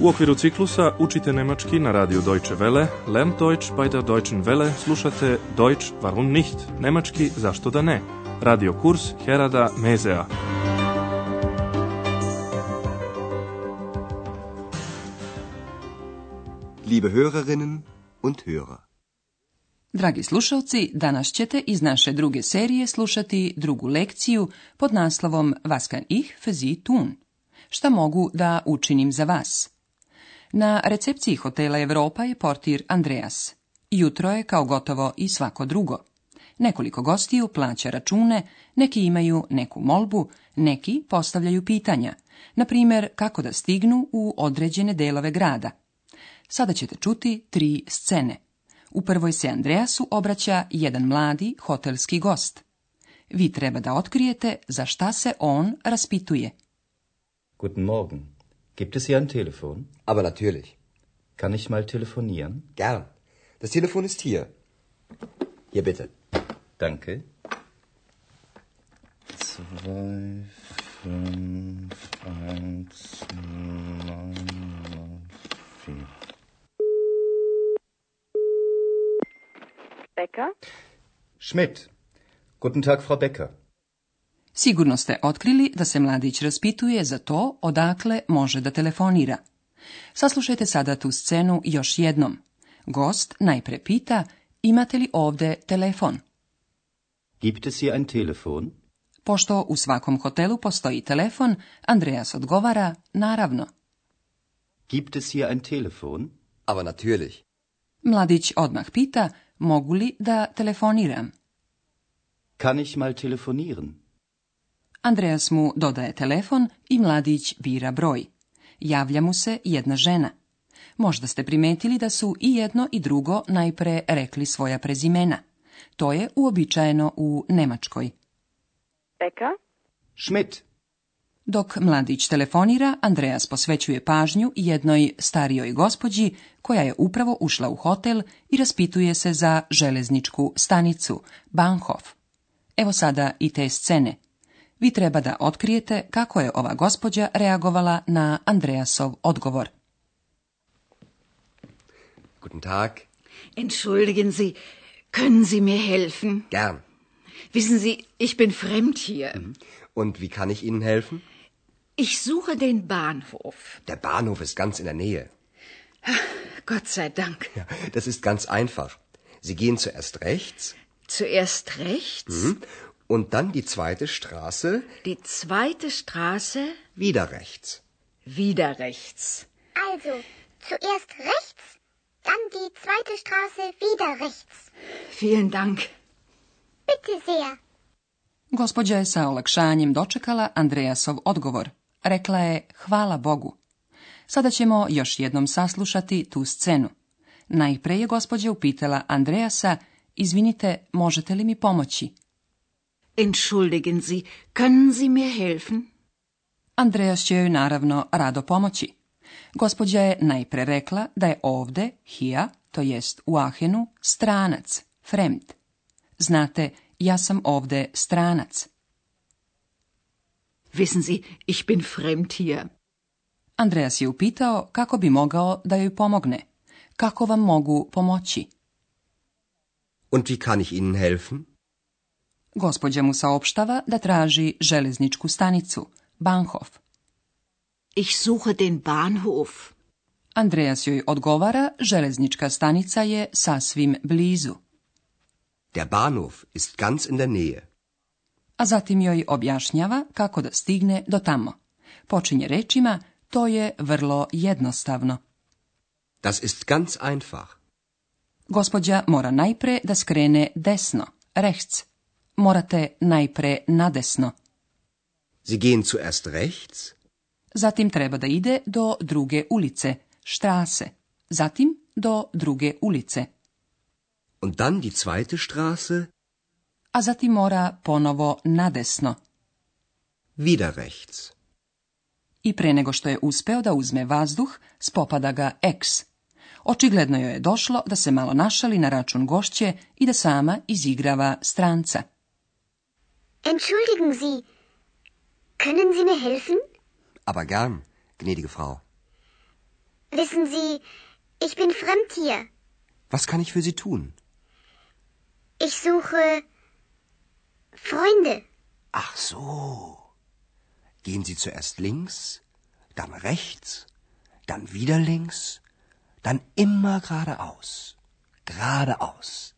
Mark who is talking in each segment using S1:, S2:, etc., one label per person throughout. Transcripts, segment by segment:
S1: U okviru ciklusa učite nemački na radiju Deutsche Welle, lernt Deutsch bei der Deutschen Welle, slušate Deutsch warum nicht, nemački zašto da ne, radio kurs Herada Mezea.
S2: Liebe Hörerinnen und Hörer,
S3: Dragi slušalci, danas ćete iz naše druge serije slušati drugu lekciju pod naslovom Was kann ich für Sie tun? Šta mogu da učinim za vas? Na recepciji hotela Europa je portir Andreas. Jutro je kao gotovo i svako drugo. Nekoliko gostiju plaća račune, neki imaju neku molbu, neki postavljaju pitanja, na primjer kako da stignu u određene delove grada. Sada ćete čuti tri scene. U prvoj se Andreasu obraća jedan mladi hotelski gost. Vi treba da otkrijete za šta se on raspituje.
S4: Guten Morgen. Gibt es hier ein Telefon?
S2: aber natürlich.
S4: Kann ich mal telefonieren?
S2: Gern. Das Telefon ist hier. Hier bitte.
S4: Danke. Zwei, fünf, eins, neun, vier.
S5: Becker?
S4: Schmidt. Guten Tag, Frau Becker.
S3: Sigurno ste otkrili da se mladić raspituje za to odakle može da telefonira. Saslušajte sada tu scenu još jednom. Gost najpre pita imate li ovde telefon.
S4: Gibt es hier ein Telefon?
S3: Pošto u svakom hotelu postoji telefon, Andreas odgovara naravno.
S4: Gibt es hier ein Telefon?
S2: Aber natürlich.
S3: Mladić odmah pita mogu li da telefoniram.
S4: Kann ich mal telefonieren?
S3: Andreas mu dodaje telefon i mladić bira broj. Javlja mu se jedna žena. Možda ste primetili da su i jedno i drugo najpre rekli svoja prezimena. To je uobičajeno u Nemačkoj.
S5: Becker?
S4: Schmidt.
S3: Dok mladić telefonira, Andreas posvećuje pažnju jednoj starijoj gospođi koja je upravo ušla u hotel i raspituje se za železničku stanicu Bahnhof. Evo sada i te scene. Vi treba da otkrijete kako je ova gospođa reagovala na Andreasov odgovor.
S2: Guten Tag.
S6: Entschuldigen Sie, können Sie mir helfen?
S2: Gern.
S6: Wissen Sie, ich bin fremd hier.
S2: Und wie kann ich Ihnen helfen?
S6: Ich suche den Bahnhof.
S2: Der Bahnhof ist ganz in der Nähe.
S6: Gott sei Dank.
S2: Ja, das ist ganz einfach. Sie gehen zuerst rechts
S6: Zuerst rechts,
S2: hm, und dann die zweite Straße
S6: die zweite Straße,
S2: wieder rechts.
S6: wieder rechts.
S7: Also, zuerst rechts, dann die zweite Straße wieder rechts.
S6: Vielen Dank.
S7: Bitte sehr.
S3: Gospođa je sa olakšanjem dočekala Andreasov odgovor. Rekla je hvala Bogu. Sada ćemo još jednom saslušati tu scenu. Najpre je gospođa upitala Andreasa, izvinite, možete li mi pomoći?
S6: Entschuldigen Sie, können Sie mir helfen?
S3: Andreas će joj naravno rado pomoći. Gospođa je najpre rekla da je ovde, hija, to jest u Ahenu, stranac, fremd. Znate, ja sam ovde stranac.
S6: Wissen Sie, ich bin fremd hier.
S3: Andreas je upitao kako bi mogao da joj pomogne. Kako vam mogu pomoći?
S2: Und wie kann ich Ihnen helfen?
S3: Gospođa mu saopštava da traži železničku stanicu, Banhof.
S6: Ich suche den Bahnhof.
S3: Andreas joj odgovara, železnička stanica je sasvim blizu.
S2: Der Bahnhof ist ganz in der Nähe.
S3: a zatim joj objašnjava kako da stigne do tamo. Počinje rečima, to je vrlo jednostavno.
S2: Das ist ganz einfach.
S3: Gospođa mora najpre da skrene desno, rechts. Morate najpre nadesno.
S2: Sie gehen zuerst rechts
S3: Zatim treba da ide do druge ulice, štrase. Zatim do druge ulice.
S2: und dann die zweite Straße
S3: A zatim mora ponovo nadesno.
S2: wieder rechts.
S3: i pre nego što je uspeo da uzme vazduh, spopada ga eks. Očigledno joj je došlo da se malo našali na račun gošće i da sama izigrava stranca.
S7: Entschuldigen Sie, können Sie mir helfen?
S2: Aber gern, gnädige Frau.
S7: Wissen Sie, ich bin fremd hier.
S2: Was kann ich für Sie tun?
S7: Ich suche Freunde.
S2: Ach so. Gehen Sie zuerst links, dann rechts, dann wieder links, dann immer geradeaus. Geradeaus.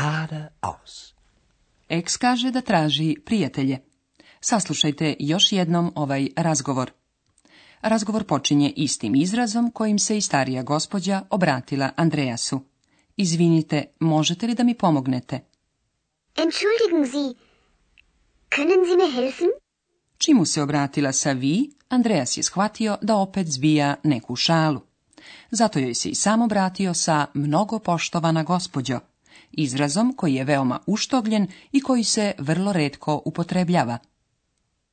S2: Geradeaus.
S3: Ex kaže da traži prijatelje. Saslušajte još jednom ovaj razgovor. Razgovor počinje istim izrazom kojim se i starija gospođa obratila Andreasu. Izvinite, možete li da mi pomognete?
S7: Entschuldigen Sie, können Sie mir helfen?
S3: Čim mu se obratila sa vi, Andreas je shvatio da opet zbija neku šalu. Zato joj se i sam obratio sa mnogo poštovana gospođo, izrazom koji je veoma uštogljen i koji se vrlo redko upotrebljava.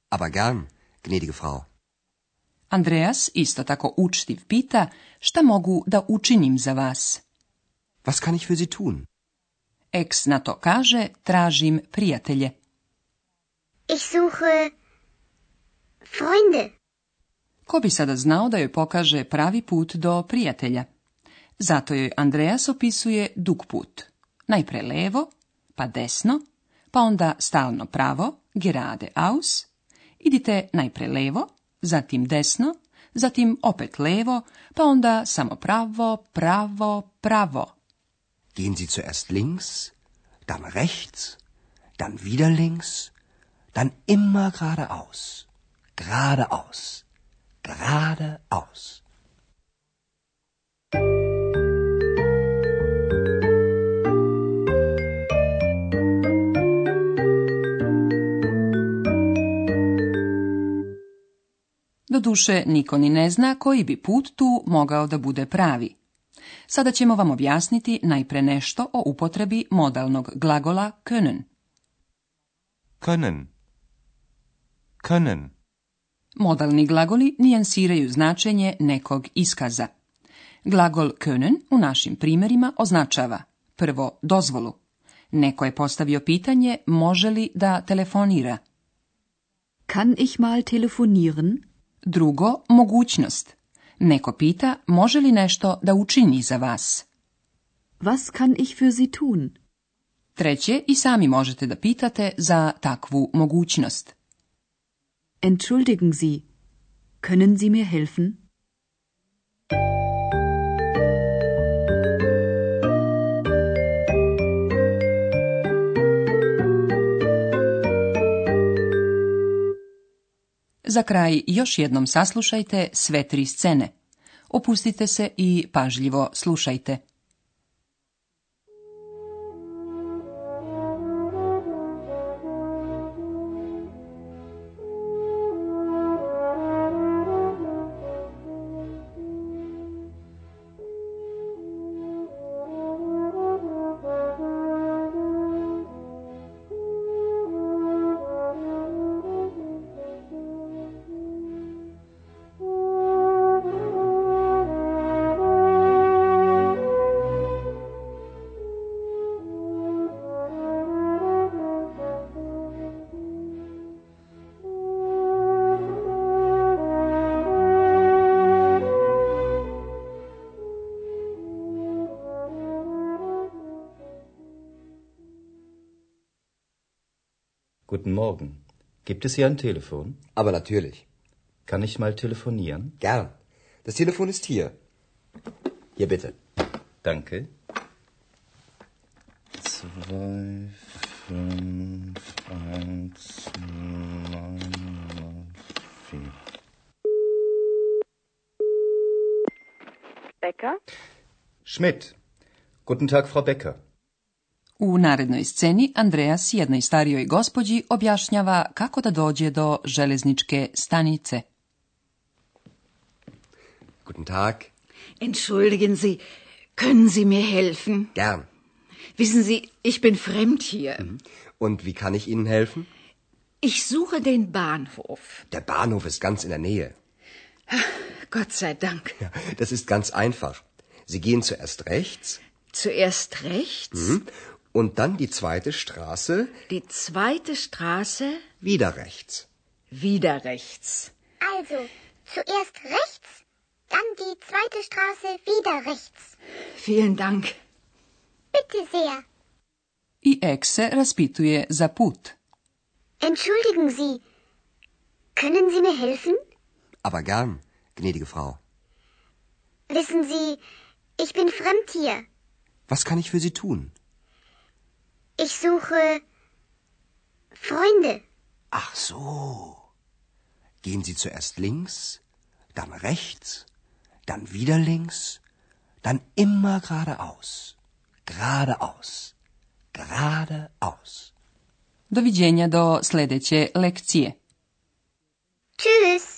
S2: Aber gern, gnädige Frau.
S3: Andreas isto tako učtiv pita šta mogu da učinim za vas.
S2: Was kann ich für Sie tun?
S3: Ex na to kaže tražim prijatelje.
S7: Ich suche Freunde.
S3: Ko bi sada znao da joj pokaže pravi put do prijatelja? Zato joj Andreas opisuje dug put. Najpre levo, pa desno, pa onda stalno pravo, gerade aus. Idite najpre levo, zatim desno, zatim opet levo, pa onda samo pravo, pravo, pravo.
S2: Gehen Sie zuerst links, dann rechts, dann wieder links, dann immer geradeaus. Geradeaus. Geradeaus.
S3: Doduše, niko ni ne zna koji bi put tu mogao da bude pravi. Sada ćemo vam objasniti najpre nešto o upotrebi modalnog glagola können.
S5: können, können,
S3: Modalni glagoli nijansiraju značenje nekog iskaza. Glagol können u našim primjerima označava prvo dozvolu. Neko je postavio pitanje može li da telefonira.
S8: Kann ich mal telefonieren?
S3: Drugo, mogućnost. Neko pita može li nešto da učini za vas.
S8: Was kann ich für Sie tun?
S3: Treće, i sami možete da pitate za takvu mogućnost.
S8: Entschuldigen Sie, können Sie mir helfen?
S3: Za kraj još jednom saslušajte sve tri scene. Opustite se i pažljivo slušajte.
S4: Guten Morgen. Gibt es hier ein Telefon?
S2: Aber natürlich.
S4: Kann ich mal telefonieren?
S2: Gern. Das Telefon ist hier. Hier bitte.
S4: Danke. Zwei, fünf, eins, neun, neun, vier.
S9: Becker?
S4: Schmidt. Guten Tag, Frau Becker.
S3: U narednoj sceni Andreas jednoj starijoj gospođi objašnjava kako da dođe do železničke stanice.
S2: Guten Tag.
S6: Entschuldigen Sie, können Sie mir helfen?
S2: Gern.
S6: Wissen Sie, ich bin fremd hier.
S2: Und wie kann ich Ihnen helfen?
S6: Ich suche den Bahnhof.
S2: Der Bahnhof ist ganz in der Nähe.
S6: Gott sei Dank.
S2: Ja, das ist ganz einfach. Sie gehen zuerst rechts
S6: Zuerst rechts,
S2: hm, und dann die zweite Straße
S6: die zweite Straße,
S2: wieder rechts.
S6: wieder rechts.
S7: Also, zuerst rechts, Dann die zweite Straße wieder rechts.
S6: Vielen Dank.
S7: Bitte sehr.
S3: I Ek se raspituje za put.
S7: Entschuldigen Sie. Können Sie mir helfen?
S2: Aber gern, gnädige Frau.
S7: Wissen Sie, ich bin fremd hier.
S2: Was kann ich für Sie tun?
S7: Ich suche Freunde.
S2: Ach so. Gehen Sie zuerst links, dann rechts, dann wieder links, dann immer geradeaus. Geradeaus. Geradeaus.
S3: Doviđenja do sljedeće lekcije.
S7: Tschüss.